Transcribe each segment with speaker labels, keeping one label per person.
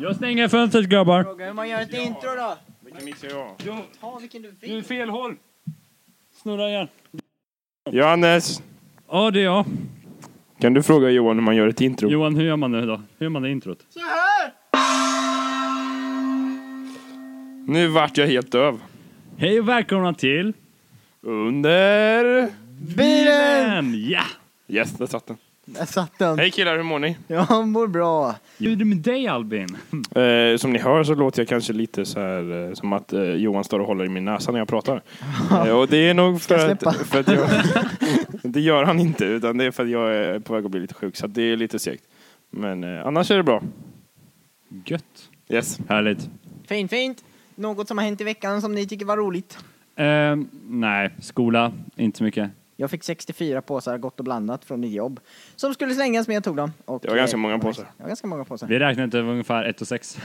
Speaker 1: Jag stänger fönstret grabbar.
Speaker 2: Fråga hur man gör ett intro då.
Speaker 3: Vilken mix är jag?
Speaker 1: Jo,
Speaker 2: Ta vilken du
Speaker 1: du är
Speaker 2: vill.
Speaker 1: fel håll. Snurra igen.
Speaker 3: Johannes!
Speaker 1: Ja, det är jag.
Speaker 3: Kan du fråga Johan hur man gör ett intro?
Speaker 1: Johan, hur gör man det då? Hur gör man det introt?
Speaker 2: Så här!
Speaker 3: Nu vart jag helt döv.
Speaker 1: Hej och välkomna till...
Speaker 3: Under...
Speaker 2: Bilen!
Speaker 1: En, ja!
Speaker 3: Yes, där satt den.
Speaker 2: Där satt den.
Speaker 3: Hej killar, hur mår ni?
Speaker 2: Jag mår bra.
Speaker 1: Hur är det med dig Albin?
Speaker 3: Eh, som ni hör så låter jag kanske lite så här eh, som att eh, Johan står och håller i min näsa när jag pratar. Eh, och det är nog
Speaker 2: Ska
Speaker 3: för
Speaker 2: jag
Speaker 3: att,
Speaker 2: släppa?
Speaker 3: för att jag... det gör han inte, utan det är för att jag är på väg att bli lite sjuk. Så att det är lite segt. Men eh, annars är det bra.
Speaker 1: Gött.
Speaker 3: Yes.
Speaker 1: Härligt.
Speaker 2: Fint, fint. Något som har hänt i veckan som ni tycker var roligt.
Speaker 1: Ehm, nej, skola, inte så mycket.
Speaker 2: Jag fick 64 påsar gott och blandat från mitt jobb. Som skulle slängas men jag tog dem. Och,
Speaker 3: Det var ganska
Speaker 2: eh,
Speaker 3: många påsar.
Speaker 2: Det var ganska många påsar.
Speaker 1: Vi räknade inte ungefär 1 och 6.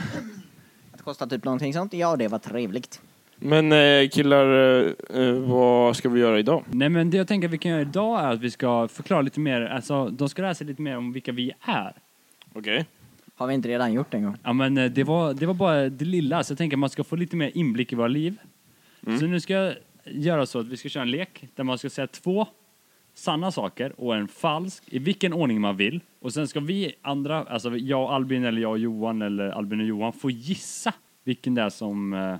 Speaker 2: Det kostade typ någonting sånt. Ja, det var trevligt.
Speaker 3: Men eh, killar, eh, eh, vad ska vi göra idag?
Speaker 1: Nej men det jag tänker att vi kan göra idag är att vi ska förklara lite mer, alltså de ska lära sig lite mer om vilka vi är.
Speaker 3: Okej.
Speaker 2: Har vi inte redan gjort en gång?
Speaker 1: Ja men eh, det var, det var bara det lilla, så jag tänker att man ska få lite mer inblick i våra liv.
Speaker 3: Mm.
Speaker 1: Så nu ska jag göra så att vi ska köra en lek där man ska säga två sanna saker och en falsk, i vilken ordning man vill. Och sen ska vi andra, alltså jag och Albin eller jag och Johan eller Albin och Johan få gissa vilken det är som, eh,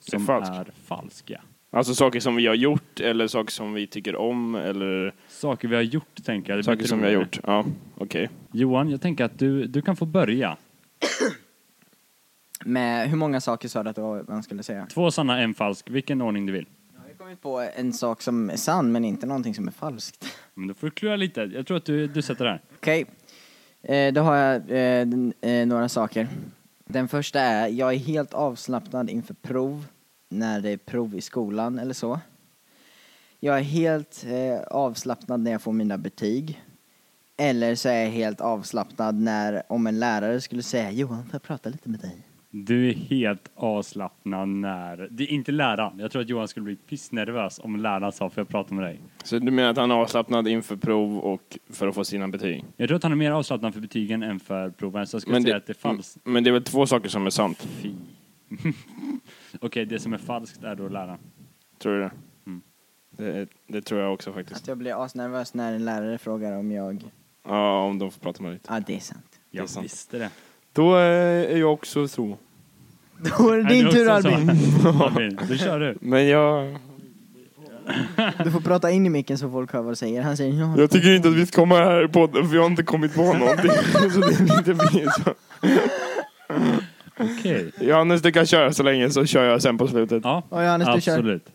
Speaker 1: som är
Speaker 3: falsk.
Speaker 1: falsk. Är falsk ja.
Speaker 3: Alltså saker som vi har gjort eller saker som vi tycker om eller
Speaker 1: Saker vi har gjort tänker jag. Det blir
Speaker 3: saker som vi har
Speaker 1: roligare.
Speaker 3: gjort. Ja, okej.
Speaker 1: Johan, jag tänker att du, du kan få börja.
Speaker 2: Med hur många saker sa du att det var man skulle säga?
Speaker 1: Två sanna, en falsk, vilken ordning du vill.
Speaker 2: Jag har kommit på en sak som är sann men inte någonting som är falskt.
Speaker 1: Men då får du klura lite. Jag tror att du, du sätter det här.
Speaker 2: Okej. Eh, då har jag eh, den- eh, några saker. Den första är, jag är helt avslappnad inför prov. När det är prov i skolan eller så. Jag är helt eh, avslappnad när jag får mina betyg. Eller så är jag helt avslappnad när, om en lärare skulle säga Johan, får jag prata lite med dig?
Speaker 1: Du är helt avslappnad när... Det är inte läraren. Jag tror att Johan skulle bli pissnervös om läraren sa får jag prata med dig.
Speaker 3: Så du menar att han är avslappnad inför prov och för att få sina betyg?
Speaker 1: Jag tror att han är mer avslappnad för betygen än för proven. Så jag skulle
Speaker 3: Men
Speaker 1: säga
Speaker 3: det- mm.
Speaker 1: att det är falskt.
Speaker 3: Men det är väl två saker som är sant?
Speaker 1: Fy. Okej, det som är falskt är då läraren.
Speaker 3: Tror du det?
Speaker 1: Mm.
Speaker 3: Det, det tror jag också faktiskt.
Speaker 2: Att jag blir asnervös när en lärare frågar om jag...
Speaker 3: Ja, om de får prata med dig.
Speaker 2: Ja, ah, det är sant.
Speaker 3: Det är
Speaker 1: Jag
Speaker 3: sant.
Speaker 1: visste det.
Speaker 3: Då eh, är jag också så.
Speaker 2: Då är det
Speaker 1: Är
Speaker 2: din
Speaker 1: du
Speaker 2: tur
Speaker 1: också så?
Speaker 2: Albin.
Speaker 1: Albin, då kör du.
Speaker 3: Men jag...
Speaker 2: Du får prata in i micken så folk hör vad du säger. Han säger ja.
Speaker 3: Jag tycker inte att vi ska komma här i podden för jag har inte kommit på någonting. så det är lite pinsamt.
Speaker 1: Okej.
Speaker 3: Johannes, du kan köra så länge så kör jag sen på slutet.
Speaker 1: Ja,
Speaker 2: Ja, Johannes, du kör.
Speaker 1: absolut.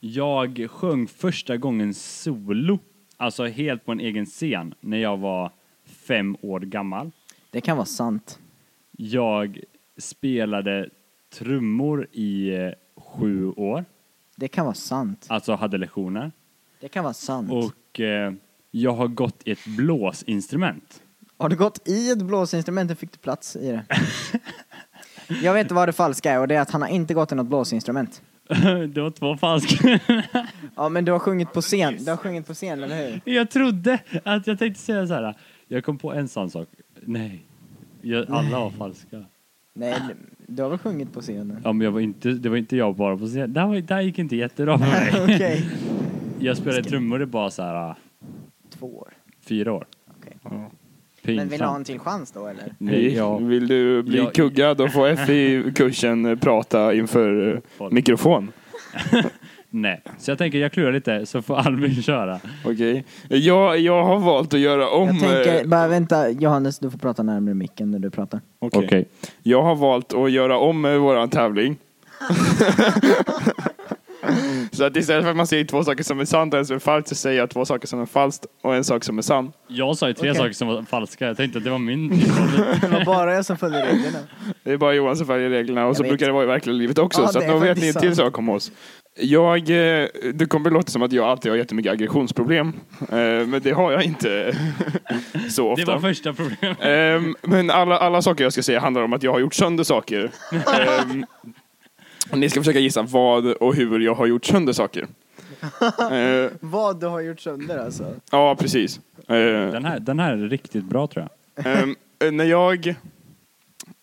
Speaker 1: Jag sjöng första gången solo, alltså helt på en egen scen, när jag var fem år gammal.
Speaker 2: Det kan vara sant.
Speaker 1: Jag spelade trummor i eh, sju år,
Speaker 2: Det kan vara sant.
Speaker 1: alltså hade lektioner.
Speaker 2: Det kan vara sant.
Speaker 1: Och eh, jag har gått i ett blåsinstrument.
Speaker 2: Har du gått i ett blåsinstrument och fick du plats i det? Jag vet vad det falska är och det är att han har inte gått i något blåsinstrument.
Speaker 1: det var två falska.
Speaker 2: Ja men du har sjungit på scen, du har sjungit på scen eller hur?
Speaker 1: jag trodde att jag tänkte säga så här. Jag kom på en sån sak. Nej, jag, alla var falska.
Speaker 2: Nej, du har väl sjungit på scenen?
Speaker 1: Ja, men jag var inte, det var inte jag bara på scen. Det här, var, det här gick inte jättebra för mig.
Speaker 2: Okej.
Speaker 1: Jag spelade trummor i bara så här äh,
Speaker 2: Två år.
Speaker 1: fyra år.
Speaker 2: Okej. Men
Speaker 1: Pinsamt.
Speaker 2: vill du ha en till chans då eller?
Speaker 1: Nej, ja.
Speaker 3: Vill du bli
Speaker 1: Jag-
Speaker 3: kuggad och få F i kursen eh, prata inför eh,
Speaker 1: Folk.
Speaker 3: mikrofon?
Speaker 1: Nej. Så jag tänker jag klurar lite så får Albin köra.
Speaker 3: Okej. Jag, jag har valt att göra om...
Speaker 2: Jag
Speaker 3: eh,
Speaker 2: tänker, bara vänta Johannes du får prata närmare micken när du pratar.
Speaker 3: okej. Jag har valt att göra om eh, våran tävling. så att istället för att man säger två saker som är sant och en som är falskt så säger jag två saker som är falskt och en sak som är sann.
Speaker 1: Jag sa ju tre
Speaker 2: Okej.
Speaker 1: saker som var falska. Jag tänkte att det var min.
Speaker 2: Det var bara jag som följde reglerna.
Speaker 3: Det är bara Johan som följer reglerna och så
Speaker 2: vet.
Speaker 3: brukar det vara i verkliga livet också.
Speaker 2: Ja,
Speaker 3: så att
Speaker 2: det är
Speaker 3: nu vet ni en
Speaker 2: faktiskt
Speaker 3: till
Speaker 2: sant.
Speaker 3: sak om oss. Jag, eh, det kommer låta som att jag alltid har jättemycket aggressionsproblem. Eh, Men det har jag inte så
Speaker 1: Det
Speaker 3: ofta.
Speaker 1: var första problemet.
Speaker 3: Ehm, men alla, alla saker jag ska säga handlar om att jag har gjort sönder saker. Ehm, och ni ska försöka gissa vad och hur jag har gjort sönder saker. Ehm,
Speaker 2: Vad du har gjort sönder alltså.
Speaker 3: ja, precis. Ehm,
Speaker 1: Den här, den här är riktigt bra tror jag.
Speaker 3: ehm, när jag eh,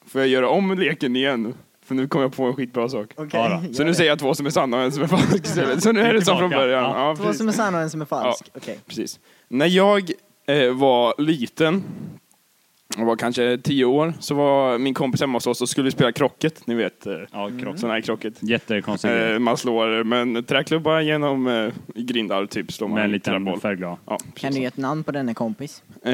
Speaker 3: Får jag göra om leken igen? För nu kom jag på en skitbra sak.
Speaker 2: Okej.
Speaker 1: Ja då.
Speaker 2: gör
Speaker 3: Så nu
Speaker 2: det.
Speaker 3: säger jag två som är sanna och en som är falsk istället. Så nu är det som från
Speaker 1: Tillbaka.
Speaker 3: början.
Speaker 1: Ja.
Speaker 3: Ja,
Speaker 2: Två
Speaker 3: precis.
Speaker 2: som är sanna och en som är falsk. Okej.
Speaker 3: precis. När jag eh, var liten, jag var kanske tio år, så var min kompis hemma hos oss och skulle spela krocket. Ni vet, eh,
Speaker 1: Ja, krock.
Speaker 3: sån här krocket.
Speaker 1: Jättekonstig grej.
Speaker 3: Eh, man slår med en träklubba genom eh, grindar, typ slår man
Speaker 1: Med en
Speaker 3: en
Speaker 1: liten
Speaker 3: träboll.
Speaker 1: färgglad.
Speaker 3: Ja,
Speaker 2: Kan
Speaker 3: precis.
Speaker 2: du ge ett namn på denne kompis?
Speaker 3: eh,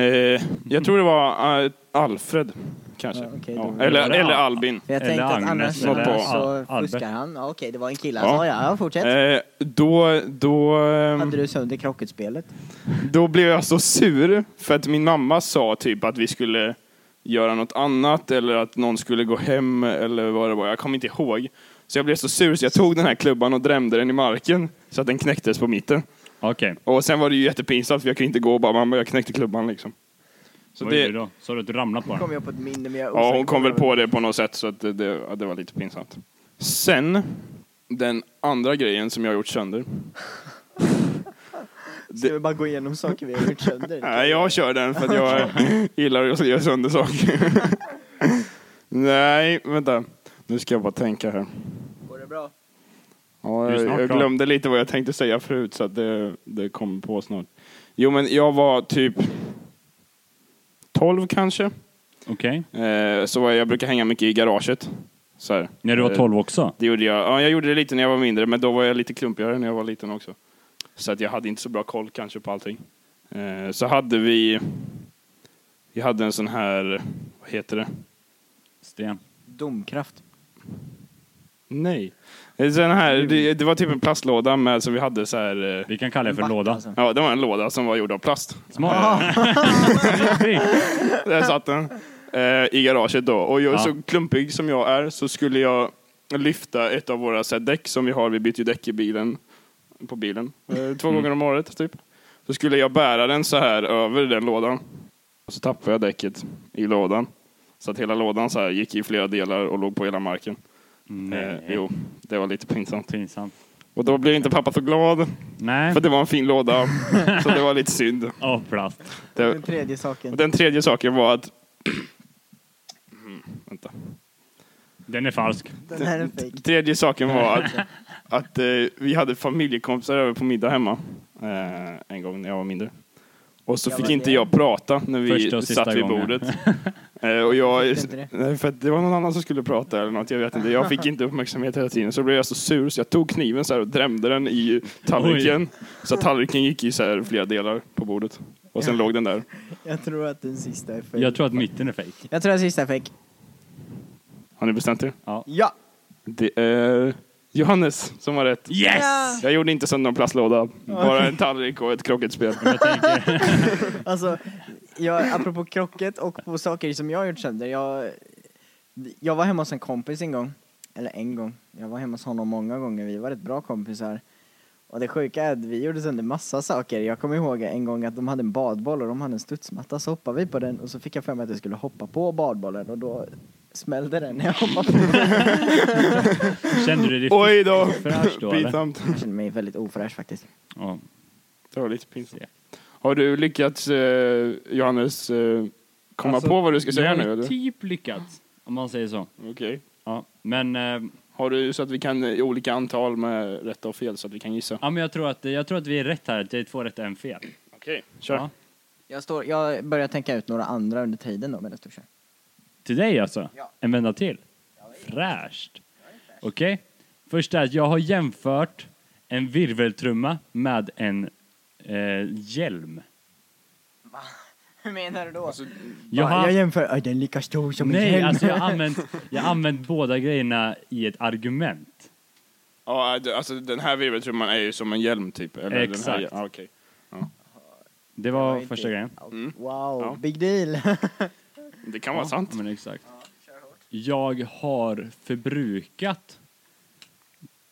Speaker 3: jag tror det var eh, Alfred, kanske.
Speaker 2: Ja, okej,
Speaker 3: ja.
Speaker 2: då-
Speaker 3: Eller,
Speaker 1: Var det
Speaker 3: eller
Speaker 1: Al-
Speaker 3: Albin.
Speaker 2: För jag
Speaker 1: Eller
Speaker 2: tänkte att
Speaker 1: Agnes,
Speaker 2: annars
Speaker 3: eller
Speaker 2: så,
Speaker 3: Al-
Speaker 2: så
Speaker 1: Albert.
Speaker 2: fuskar han. Ja, Okej, det var en kille
Speaker 3: Ja.
Speaker 2: alltså. Ja, ja fortsätt.
Speaker 3: Eh, då, då, ehm,
Speaker 2: Hade du sönder krockutspelet?
Speaker 3: då blev jag så sur för att min mamma sa typ att vi skulle göra något annat eller att någon skulle gå hem eller vad det var. Jag kommer inte ihåg. Så jag blev så sur så jag tog den här klubban och drämde den i marken så att den knäcktes på mitten.
Speaker 1: Okej.
Speaker 3: Och sen var det ju jättepinsamt för jag kunde inte gå och bara mamma jag knäckte klubban liksom. Så
Speaker 1: Vad
Speaker 3: det-
Speaker 1: gjorde du då? Sa du att du ramlade på
Speaker 2: Kom
Speaker 1: den?
Speaker 2: jag på ett minne men jag är
Speaker 3: Ja, hon
Speaker 2: osäker
Speaker 3: kom väl
Speaker 2: vad
Speaker 3: på det på något sätt så att det, det, ja, det var lite pinsamt. Sen, den andra grejen som jag har gjort sönder.
Speaker 2: det var. Ska vi bara gå igenom saker vi har gjort sönder?
Speaker 3: Nej, jag kör den för att jag gillar att göra sönder saker. Nej, vänta. Nu ska jag bara tänka här.
Speaker 2: Går det bra?
Speaker 3: Ja,
Speaker 1: Du är
Speaker 3: jag,
Speaker 1: snart
Speaker 3: jag
Speaker 1: klar.
Speaker 3: glömde lite vad jag tänkte säga förut så att det, det kom på snart. Jo, men jag var typ 12 kanske.
Speaker 1: Okej.
Speaker 3: Eh, så var jag, jag brukar hänga mycket i garaget. Så här.
Speaker 1: När du var
Speaker 3: Eh,
Speaker 1: 12 också?
Speaker 3: Det gjorde jag. Ja, jag gjorde det lite när jag var mindre, men då var jag lite klumpigare när jag var liten också. Så att jag hade inte så bra koll kanske på allting. Eh, så hade vi... Vi hade en sån här... Vad heter det?
Speaker 1: Sten.
Speaker 2: Domkraft.
Speaker 3: Nej. En sån här, det, det var typ en plastlåda med, som vi hade så här... Eh,
Speaker 1: Vi kan kalla det för
Speaker 2: Vatt,
Speaker 1: låda.
Speaker 2: alltså.
Speaker 3: ja, det var en låda som var gjord av plast. Ah.
Speaker 1: Smart. Fint.
Speaker 3: Där satt den. Eh, I garaget då. Och jag,
Speaker 1: Ja.
Speaker 3: så klumpig som jag är så skulle jag lyfta ett av våra så här, däck som vi har. Vi byter ju däck i bilen. På bilen. Eh, två
Speaker 1: Mm.
Speaker 3: gånger om året typ. Så skulle jag bära den så här över den lådan. Och så tappade jag däcket i lådan. Så att hela lådan så här gick i flera delar och låg på hela marken. Eh,
Speaker 1: Nej.
Speaker 3: jo, det var lite pinsamt.
Speaker 1: Pinsamt.
Speaker 3: Och då blev inte pappa så glad.
Speaker 1: Nej.
Speaker 3: För det var en fin låda. så det var lite synd.
Speaker 1: Åh, plast.
Speaker 3: Det,
Speaker 2: Den tredje saken.
Speaker 3: och den tredje saken var att... Mm, vänta.
Speaker 1: Den är falsk.
Speaker 2: Den här är fake.
Speaker 3: Tredje saken var att, att eh, vi hade familjekompisar över på middag hemma. Eh, en gång när jag var mindre. Och så
Speaker 2: Ja,
Speaker 3: fick
Speaker 2: men
Speaker 3: inte
Speaker 2: det-
Speaker 3: jag prata när
Speaker 1: Första
Speaker 3: vi
Speaker 1: och sista
Speaker 3: satt vid
Speaker 1: gången.
Speaker 3: bordet. Eh, och jag,
Speaker 2: Fick du inte
Speaker 3: nej, för att det var någon annan som skulle prata eller något, jag vet inte. Jag fick inte uppmärksamhet hela tiden. Så blev jag så sur så jag tog kniven så här och drämde den i tallriken. Så att tallriken gick i så här flera delar på bordet. Och sen låg den där.
Speaker 2: Jag tror att den sista är fake.
Speaker 1: Jag tror att mitten är fake.
Speaker 2: Jag tror att den sista är fake.
Speaker 3: Har ni bestämt er?
Speaker 2: Ja!
Speaker 3: Det är Johannes som har rätt.
Speaker 1: Yes!
Speaker 2: Ja.
Speaker 3: Jag gjorde inte sönder någon plastlåda. Bara en tallrik och ett krocketspel.
Speaker 2: Alltså, jag, apropå krocket och på saker som jag har gjort sönder. Jag, jag var hemma hos en kompis en gång. Eller en gång. Jag var hemma hos honom många gånger. Vi var rätt bra kompisar. Och det sjuka är att vi gjorde sönder massa saker. Jag kommer ihåg en gång att de hade en badboll och de hade en studsmatta. Så hoppade vi på den och så fick jag för mig att jag skulle hoppa på badbollen och då smällde den när jag hoppade på den.
Speaker 1: Kände du dig
Speaker 3: Oj då!
Speaker 1: fräsch då eller?
Speaker 3: Pinsamt.
Speaker 2: Jag kände mig väldigt ofräsch faktiskt.
Speaker 1: Ja.
Speaker 3: Det var lite pinsamt. Har du lyckats, eh, Johannes, eh, komma
Speaker 1: Alltså,
Speaker 3: på vad du ska
Speaker 1: jag
Speaker 3: säga
Speaker 1: har
Speaker 3: nu?
Speaker 1: ju
Speaker 3: Eller?
Speaker 1: typ lyckats. Om man säger så.
Speaker 3: Okej.
Speaker 1: Ja. Men, eh,
Speaker 3: Har du så att vi kan eh, i olika antal med rätta och fel så att vi kan gissa?
Speaker 1: ja, men jag, tror att, jag tror att vi är rätt här. Det är två rätt och en fel.
Speaker 3: Okej, kör.
Speaker 1: Ja.
Speaker 2: Jag, står, jag börjar tänka ut några andra under tiden då medan du kör.
Speaker 1: Till dig alltså?
Speaker 2: Ja.
Speaker 1: En vända till? Fräscht. Okej. Först är att jag har jämfört en virveltrumma med en eh, hjälm.
Speaker 2: Hur menar du då?
Speaker 1: Jag har,
Speaker 2: Jag jämför, "Aj, den är lika stor som en
Speaker 1: nej,
Speaker 2: hjälm."
Speaker 1: alltså jag har använt, jag har använt båda grejerna i ett argument.
Speaker 3: Ja, eh, det- alltså den här virveltrumman är ju som en hjälm typ. Eller Den här,
Speaker 1: Exakt.
Speaker 3: ja, okej.
Speaker 1: Det
Speaker 2: Det
Speaker 1: var
Speaker 2: var inte-
Speaker 1: första grejen.
Speaker 2: Wow,
Speaker 3: Ja.
Speaker 2: big deal.
Speaker 3: Det kan vara sant.
Speaker 1: Ja, men exakt. Jag har förbrukat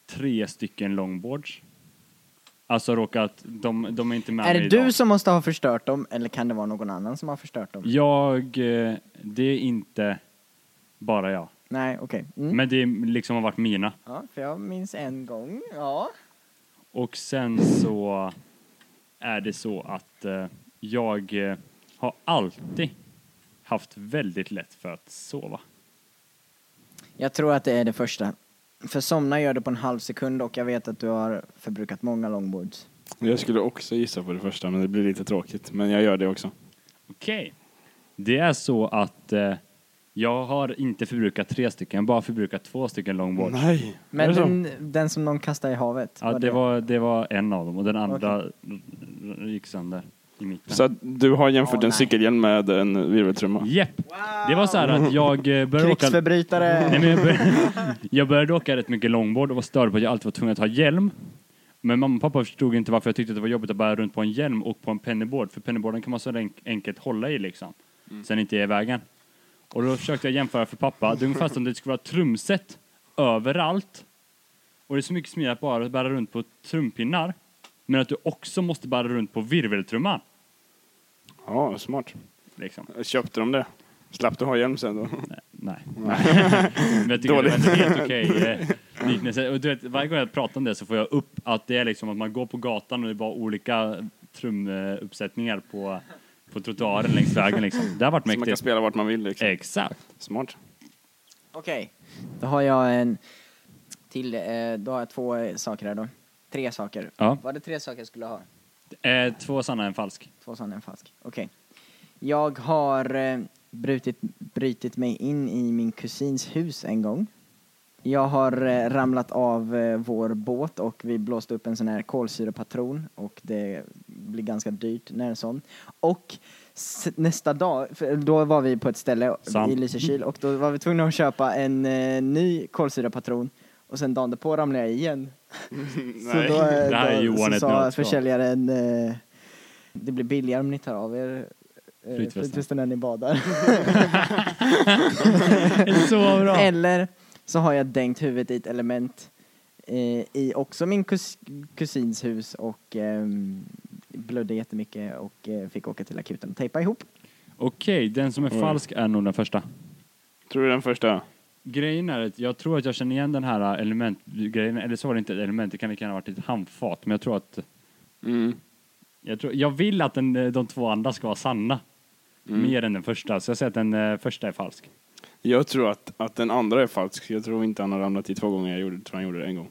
Speaker 1: tre stycken longboards. Alltså råkat, de, de är inte med
Speaker 2: är
Speaker 1: mig
Speaker 2: det du
Speaker 1: idag.
Speaker 2: som måste ha förstört dem eller kan det vara någon annan som har förstört dem?
Speaker 1: Jag, eh, det är inte bara jag.
Speaker 2: Nej, okej. Mm.
Speaker 1: Men det är liksom har varit mina.
Speaker 2: Ja, för jag minns en gång. Ja.
Speaker 1: Och sen så är det så att eh, jag eh, har alltid haft väldigt lätt för att sova.
Speaker 2: Jag tror att det är det första. För somna gör du på en halv sekund och jag vet att du har förbrukat många longboards.
Speaker 3: Jag skulle också gissa på det första, men det blir lite tråkigt. Men jag gör det också.
Speaker 1: Okej. Det är så att eh, jag har inte förbrukat tre stycken, bara förbrukat två stycken longboard.
Speaker 3: Nej!
Speaker 2: Men
Speaker 3: är det så?
Speaker 2: den, den som någon kastade i havet?
Speaker 1: Ja, det, var, det var en av dem och den andra gick sönder i mitten.
Speaker 3: Så att du har jämfört
Speaker 2: Åh,
Speaker 3: en
Speaker 2: nej.
Speaker 3: cykelhjälm med en virveltrumma?
Speaker 1: Jepp. Det var så här att jag eh, började åka...
Speaker 2: Krigsförbrytare!
Speaker 1: Nej, men jag, började, jag började åka rätt mycket longboard och var störd på att jag alltid var tvungen att ha hjälm. Men mamma och pappa förstod inte varför jag tyckte att det var jobbigt att bära runt på en hjälm och på en pennyboard. För pennyboarden kan man så enk- enkelt hålla i liksom. Så den inte är i vägen. Och då försökte jag jämföra för pappa. Det är ungefär som det skulle vara trumset överallt. Och det är så mycket smidigare att bara bära runt på trumpinnar. Men att du också måste bära runt på virveltrumman.
Speaker 3: Ja, smart.
Speaker 1: Liksom.
Speaker 3: Köpte de det? Slapp du ha hjälm sen då?
Speaker 1: Nej. Men jag tycker
Speaker 3: Dålig.
Speaker 1: det var en helt okej eh, liknelse. Och du vet, varje gång jag pratar om det så får jag upp att det är liksom att man går på gatan och det är bara olika trumuppsättningar på, på trottoaren längs vägen liksom. Det har varit
Speaker 3: Så man kan
Speaker 1: mäktigt.
Speaker 3: spela vart man vill liksom.
Speaker 1: Exakt.
Speaker 3: Smart.
Speaker 2: Okej,
Speaker 1: Mm.
Speaker 2: då har jag en till, eh, då har jag två eh, saker här då. Tre saker.
Speaker 1: Ja.
Speaker 2: Var det tre saker jag skulle ha?
Speaker 1: Eh, två sanna, en falsk.
Speaker 2: Två sanna och en falsk. Okej. Jag har eh, brutit, brytit mig in i min kusins hus en gång. Jag har eh, ramlat av eh, vår båt och vi blåste upp en sån här kolsyrepatron och det blir ganska dyrt när en sån. Och s- nästa dag, för då var vi på ett ställe
Speaker 1: Sant.
Speaker 2: i Lysekil och då var vi tvungna att köpa en eh, ny kolsyrepatron och sen dagen därpå ramlade jag igen. Så
Speaker 3: Nej.
Speaker 2: då, eh,
Speaker 1: Det här är
Speaker 2: då
Speaker 1: Johan
Speaker 2: så
Speaker 1: ett
Speaker 2: sa
Speaker 1: nötskal.
Speaker 2: försäljaren eh, det blir billigare om ni tar av er eh,
Speaker 1: Flytvästen.
Speaker 2: flytvästen när ni badar.
Speaker 1: Så bra!
Speaker 2: Eller så har jag dänkt huvudet i ett element eh, i också min kus kusins hus och ehm, blödde jättemycket och eh, fick åka till akuten och tejpa ihop.
Speaker 1: Okej, den som är
Speaker 3: Oj.
Speaker 1: falsk är nog den första.
Speaker 3: Tror du den första?
Speaker 1: Grejen är att jag tror att jag känner igen den här eh, elementgrejen, eller så var det inte ett element, det kan lika gärna ha varit ett handfat, men jag tror att
Speaker 3: Mm.
Speaker 1: Jag, tror, jag vill att den, eh, de två andra ska vara sanna.
Speaker 3: Mm.
Speaker 1: Mer än den första, så jag säger att den eh, första är falsk.
Speaker 3: Jag tror att, att den andra är falsk. Jag tror inte han har ramlat i två gånger. Jag gjorde, tror han gjorde det en gång.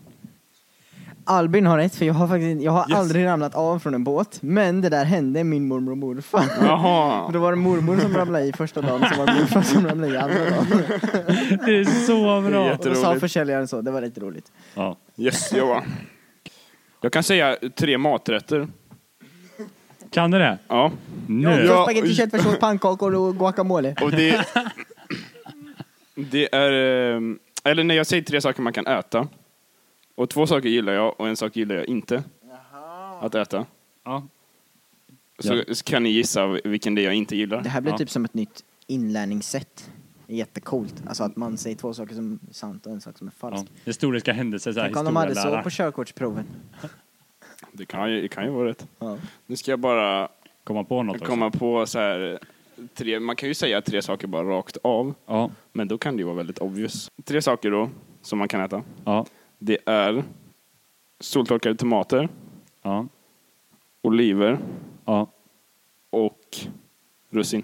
Speaker 2: Albin har rätt för jag har faktiskt jag har
Speaker 3: Yes.
Speaker 2: aldrig ramlat av från en båt men det där hände min mormor och morfar.
Speaker 3: Jaha!
Speaker 2: Då var det mormor som ramlade i första dagen och så var det morfar som ramlade i andra dagen.
Speaker 1: Det är så
Speaker 3: bra.
Speaker 1: bra!
Speaker 2: Och då sa
Speaker 3: Jätteroligt.
Speaker 2: försäljaren så, det var lite roligt.
Speaker 1: Ja.
Speaker 3: Yes, Johan. Jag kan säga tre maträtter.
Speaker 1: Kan du det?
Speaker 3: Ja.
Speaker 1: Nu?
Speaker 3: Ja.
Speaker 2: Så spagetti, köttfärssås, pannkakor och guacamole.
Speaker 3: Och det... det är... ehm, Eller nej, jag säger tre saker man kan äta. Och två saker gillar jag och en sak gillar jag inte att äta.
Speaker 1: Ja.
Speaker 3: Så så kan ni gissa vilken det är jag inte gillar.
Speaker 2: Det här blir
Speaker 1: Ja.
Speaker 2: typ som ett nytt inlärningssätt. Det är Jättecoolt. Alltså att man säger två saker som är sant och en sak som är
Speaker 1: ja.
Speaker 2: falsk.
Speaker 1: Historiska händelser, så här,
Speaker 2: Tänk om de hade så
Speaker 1: historielärare.
Speaker 2: på körkortsproven.
Speaker 3: Det kan ju, det kan ju vara rätt.
Speaker 2: Ja.
Speaker 3: Nu ska jag bara
Speaker 1: Komma på något också.
Speaker 3: komma på så här... eh, Tre, man kan ju säga tre saker bara rakt av.
Speaker 1: Ja.
Speaker 3: Men då kan det ju vara väldigt obvious. Tre saker då som man kan äta.
Speaker 1: Ja.
Speaker 3: Det är soltorkade tomater,
Speaker 1: Ja.
Speaker 3: oliver
Speaker 1: Ja.
Speaker 3: och russin.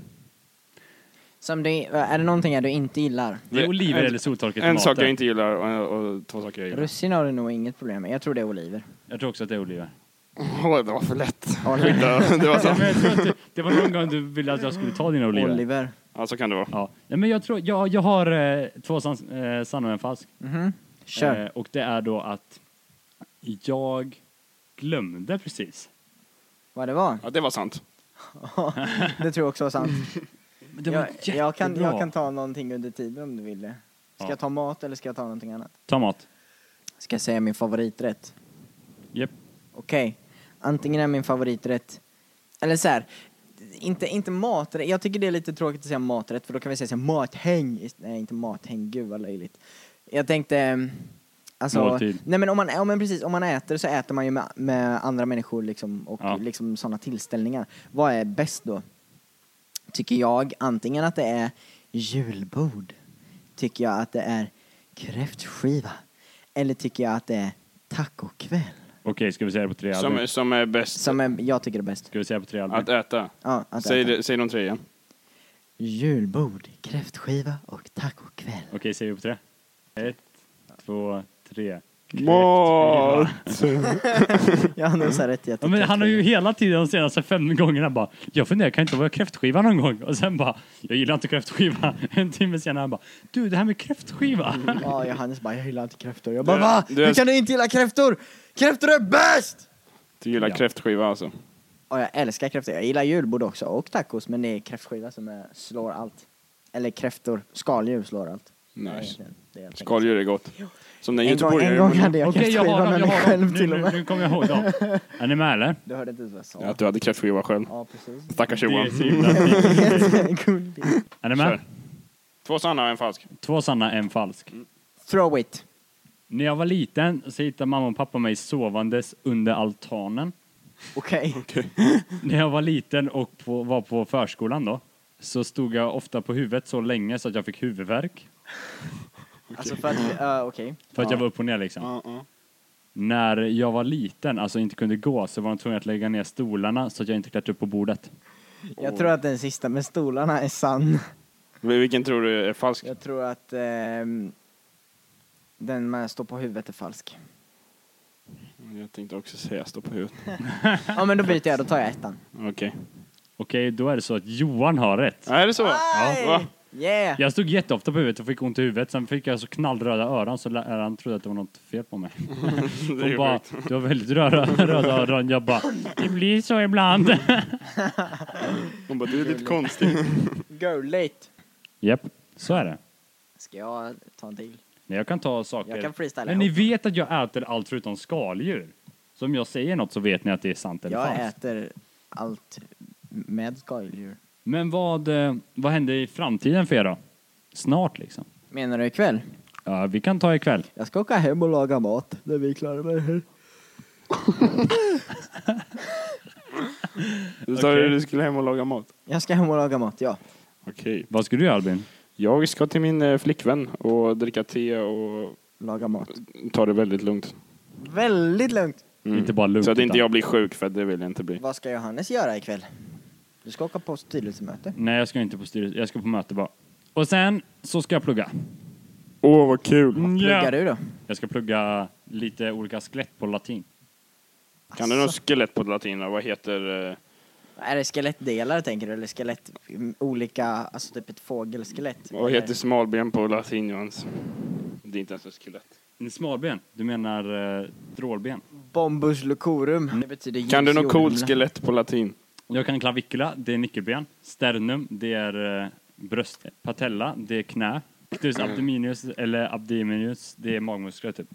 Speaker 2: Som det, är det någonting här du inte gillar?
Speaker 1: Det är
Speaker 3: Det-
Speaker 1: oliver
Speaker 3: en-
Speaker 1: eller soltorkade
Speaker 3: En sak
Speaker 1: tomater.
Speaker 3: jag inte gillar och, och två saker jag gillar.
Speaker 2: Russin har du nog inget problem med. Jag tror det är oliver.
Speaker 1: Jag tror också att det är oliver.
Speaker 3: Åh, det var för lätt.
Speaker 2: Oliver.
Speaker 3: Ja, det var
Speaker 1: Ja, men
Speaker 3: så.
Speaker 1: jag tror att det, det var någon gång du ville att jag skulle ta dina oliver.
Speaker 2: Oliver.
Speaker 3: Ja, så kan det vara.
Speaker 1: Ja. Nej, men jag tror, jag, jag har eh, två sans, eh, sanna och en falsk.
Speaker 2: Mhm. Kör.
Speaker 1: Eh, och det är då att jag glömde precis.
Speaker 2: Vad det var.
Speaker 3: Ja, det var sant.
Speaker 2: Det tror jag också var sant.
Speaker 1: Men det var
Speaker 2: Jag, jag, kan,
Speaker 1: jättebra.
Speaker 2: jag kan ta någonting under tiden om du vill det. Ska
Speaker 1: Ja.
Speaker 2: jag ta mat eller ska jag ta någonting annat?
Speaker 1: Ta mat.
Speaker 2: Ska jag säga min favoriträtt?
Speaker 1: Japp.
Speaker 2: Okej. Antingen är min favoriträtt, eller så här, inte, inte maträtt, jag tycker det är lite tråkigt att säga maträtt för då kan vi säga så här, mathäng, ist- nej inte mathäng, gud vad löjligt. Jag tänkte, ehm, alltså,
Speaker 1: Måltid.
Speaker 2: nej men om man, ja, men precis, om man äter så äter man ju med, med andra människor liksom och
Speaker 1: Ja.
Speaker 2: liksom sådana tillställningar. Vad är bäst då? Tycker jag antingen att det är julbord, tycker jag att det är kräftskiva, eller tycker jag att det är tacokväll.
Speaker 1: Okej, ska vi säga det på tre
Speaker 3: Som,
Speaker 1: Albin?
Speaker 3: som är bäst
Speaker 2: Som är, jag tycker är bäst.
Speaker 1: Ska vi säga det på tre Albin?
Speaker 3: att äta.
Speaker 2: Ja, alltså, att
Speaker 3: Säg,
Speaker 2: äta.
Speaker 3: det, säg de tre igen.
Speaker 2: Julbord, kräftskiva och tacokväll.
Speaker 1: Okej, säger vi på tre? Två, tre.
Speaker 3: Malt!
Speaker 2: Jag har nog så här rätt i att det
Speaker 1: Ja, men
Speaker 2: är
Speaker 1: han har ju hela tiden de senaste fem gångerna bara, jag funderar, kan inte vara kräftskiva någon gång? Och sen bara, jag gillar inte kräftskiva. En timme senare han bara, du det här med kräftskiva.
Speaker 2: Ja, Johannes bara, jag gillar inte kräftor. Jag bara,
Speaker 3: Du-
Speaker 2: va?
Speaker 3: du
Speaker 2: Hur
Speaker 3: är-
Speaker 2: kan du inte gilla kräftor? Kräftor är bäst!
Speaker 3: Du gillar
Speaker 1: Ja.
Speaker 3: kräftskiva alltså?
Speaker 2: Ja, jag älskar kräftor. Jag gillar julbord också och tacos, men det är kräftskiva som är, slår allt. Eller kräftor, skaldjur slår allt.
Speaker 3: Nice.
Speaker 2: Det är helt enkelt.
Speaker 3: Skaldjur är gott. Som den
Speaker 2: En gång, en
Speaker 3: göteborgaren
Speaker 2: gång
Speaker 3: gjorde.
Speaker 2: hade jag
Speaker 1: Okej, jag
Speaker 2: kräftskiva
Speaker 1: har dem,
Speaker 2: med
Speaker 1: jag
Speaker 2: mig
Speaker 1: har dem.
Speaker 2: själv
Speaker 1: Nu,
Speaker 2: till och
Speaker 1: nu,
Speaker 2: med.
Speaker 1: nu kommer jag ihåg dem. Är ni med eller?
Speaker 2: Du hörde inte ens vad jag sa.
Speaker 3: Ja, Att du hade kräftskiva själv.
Speaker 2: Ja, precis.
Speaker 3: Stackars
Speaker 1: Det
Speaker 3: Johan.
Speaker 1: är så himla fint.
Speaker 2: Gulligt.
Speaker 1: Är ni med?
Speaker 3: Kör. Två sanna och en falsk.
Speaker 1: Två sanna, en falsk.
Speaker 2: Throw it.
Speaker 1: När jag var liten så hittade mamma och pappa mig sovandes under altanen.
Speaker 2: Okej.
Speaker 1: När jag var liten och på, var på förskolan då, så stod jag ofta på huvudet så länge så att jag fick huvudvärk.
Speaker 2: Alltså för att, uh, okej.
Speaker 1: För att jag var upp och ner liksom. När jag var liten, alltså inte kunde gå, så var de tvungna att lägga ner stolarna så att jag inte klättrade upp på bordet.
Speaker 2: Jag tror att den sista med stolarna är sann.
Speaker 3: Men Vilken tror du är falsk?
Speaker 2: Jag tror att ehm, den man står på huvudet är falsk.
Speaker 3: Jag tänkte också säga stå på huvudet.
Speaker 2: Ja men då byter jag, då tar jag ettan.
Speaker 3: Okej.
Speaker 1: Okej, då är det så att Johan har rätt.
Speaker 3: Är det så?
Speaker 2: Aj!
Speaker 3: Va?
Speaker 2: Yeah!
Speaker 1: Jag stod jätteofta på huvudet och fick ont i huvudet. Sen fick jag så knallröda öron så läraren trodde att det var något fel på mig.
Speaker 3: Det är
Speaker 1: Hon
Speaker 3: ju
Speaker 1: bara,
Speaker 3: sjukt.
Speaker 1: du har väldigt röda, röda öron. Jag bara, det blir så ibland.
Speaker 3: Hon bara, du är lite konstig.
Speaker 2: Gulligt!
Speaker 1: Japp, så är det.
Speaker 2: Ska jag ta en till?
Speaker 1: Men jag kan ta saker.
Speaker 2: Jag kan freestyla
Speaker 1: Men ni
Speaker 2: ihop.
Speaker 1: vet att jag äter allt förutom skaldjur. Så om jag säger något så vet ni att det är sant eller
Speaker 2: Jag
Speaker 1: falskt.
Speaker 2: äter allt med skaldjur.
Speaker 1: Men vad, eh, vad händer i framtiden för er då? Snart liksom.
Speaker 2: Menar du ikväll?
Speaker 1: Ja, vi kan ta ikväll.
Speaker 2: Jag ska åka hem och laga mat när vi är klara med det här.
Speaker 3: Du sa
Speaker 1: Okej.
Speaker 3: ju att du skulle hem och laga mat.
Speaker 2: Jag ska hem och laga mat, ja.
Speaker 3: Okej.
Speaker 1: Vad ska du göra Albin?
Speaker 3: Jag ska till min eh, flickvän och dricka te och
Speaker 2: Laga mat.
Speaker 3: ta det väldigt lugnt.
Speaker 2: Väldigt lugnt!
Speaker 3: Mm.
Speaker 1: Inte bara lugnt.
Speaker 3: Så att inte
Speaker 1: utan-
Speaker 3: jag blir sjuk, för det vill jag inte bli.
Speaker 2: Vad ska Johannes göra ikväll? Du ska åka på styrelsemöte.
Speaker 1: Nej, jag ska inte på styrelse. Jag ska på möte bara. Och sen så ska jag plugga.
Speaker 3: Åh, vad kul!
Speaker 2: Pluggar du då?
Speaker 1: Jag ska plugga lite olika skelett på latin.
Speaker 3: Kan du något skelett på latin? då? Vad heter... eh,
Speaker 2: Är det skelettdelar tänker du? Eller skelett, mm, olika, alltså typ ett fågelskelett?
Speaker 3: Vad heter smalben på latin, Johans? Det är inte ens ett skelett.
Speaker 1: En Smalben? Du menar eh, drålben?
Speaker 2: Bombus lucorum. Det betyder
Speaker 3: Mm. Kan du
Speaker 2: ljus
Speaker 3: något coolt
Speaker 2: jorden.
Speaker 3: skelett på latin?
Speaker 1: Jag kan clavicula, det är nyckelben. Sternum, det är eh, bröst. Patella, det är knä. Rectus abdominis eller abdominus, det är magmuskler typ.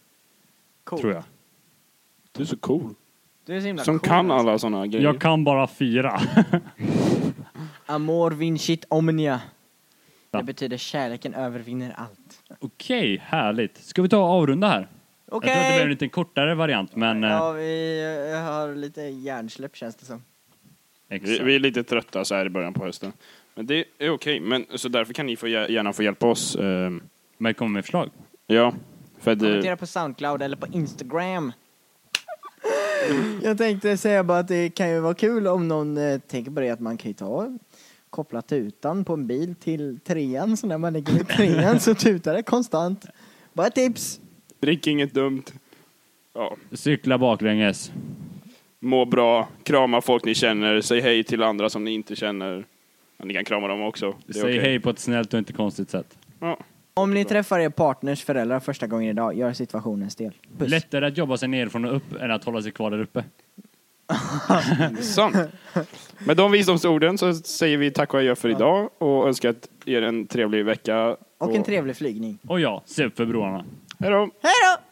Speaker 2: Coolt.
Speaker 1: Tror jag.
Speaker 3: Du är så cool.
Speaker 2: Du är så himla
Speaker 3: Som
Speaker 2: cool,
Speaker 3: kan
Speaker 2: alltså.
Speaker 3: alla såna grejer.
Speaker 1: Jag kan bara fyra.
Speaker 2: Amor vincit omnia.
Speaker 1: Ja.
Speaker 2: Det betyder kärleken övervinner allt.
Speaker 1: Okej, härligt. Ska vi ta och avrunda här? Jag tror att det
Speaker 2: Okej!
Speaker 1: blev en liten kortare variant, men... eh,
Speaker 2: Ja, vi eh, har lite hjärnsläpp känns det som.
Speaker 3: Vi,
Speaker 1: exakt.
Speaker 3: vi är lite trötta så här i början på hösten. Men det är okej, men så därför kan ni få, gär- gärna få hjälpa oss. ehm,
Speaker 1: Men kom med förslag.
Speaker 3: ja, för att, eh,
Speaker 2: Kommentera på Soundcloud eller på Instagram. Jag tänkte säga bara att det kan ju vara kul om någon eh, tänker på det att man kan ju ta koppla tutan på en bil till trean så när man ligger i trean så tutar det konstant. Bara ett tips!
Speaker 3: drick inget dumt. Ja,
Speaker 1: Cykla baklänges.
Speaker 3: må bra, krama folk ni känner, säg hej till andra som ni inte känner. Ja, ni kan krama dem också. Det är
Speaker 1: Säg
Speaker 3: okej.
Speaker 1: hej på ett snällt och inte konstigt sätt.
Speaker 3: Ja.
Speaker 2: Om ni träffar er partners föräldrar första gången idag, gör situationen stel. Puss!
Speaker 1: Lättare att jobba sig nerifrån och upp än att hålla sig kvar där uppe.
Speaker 3: Sant. Med de visdomsorden så säger vi tack och adjö för idag och önskar att er en trevlig vecka.
Speaker 2: Och en trevlig flygning.
Speaker 1: Och ja, se upp för broarna.
Speaker 3: Hej då!
Speaker 2: Hej då!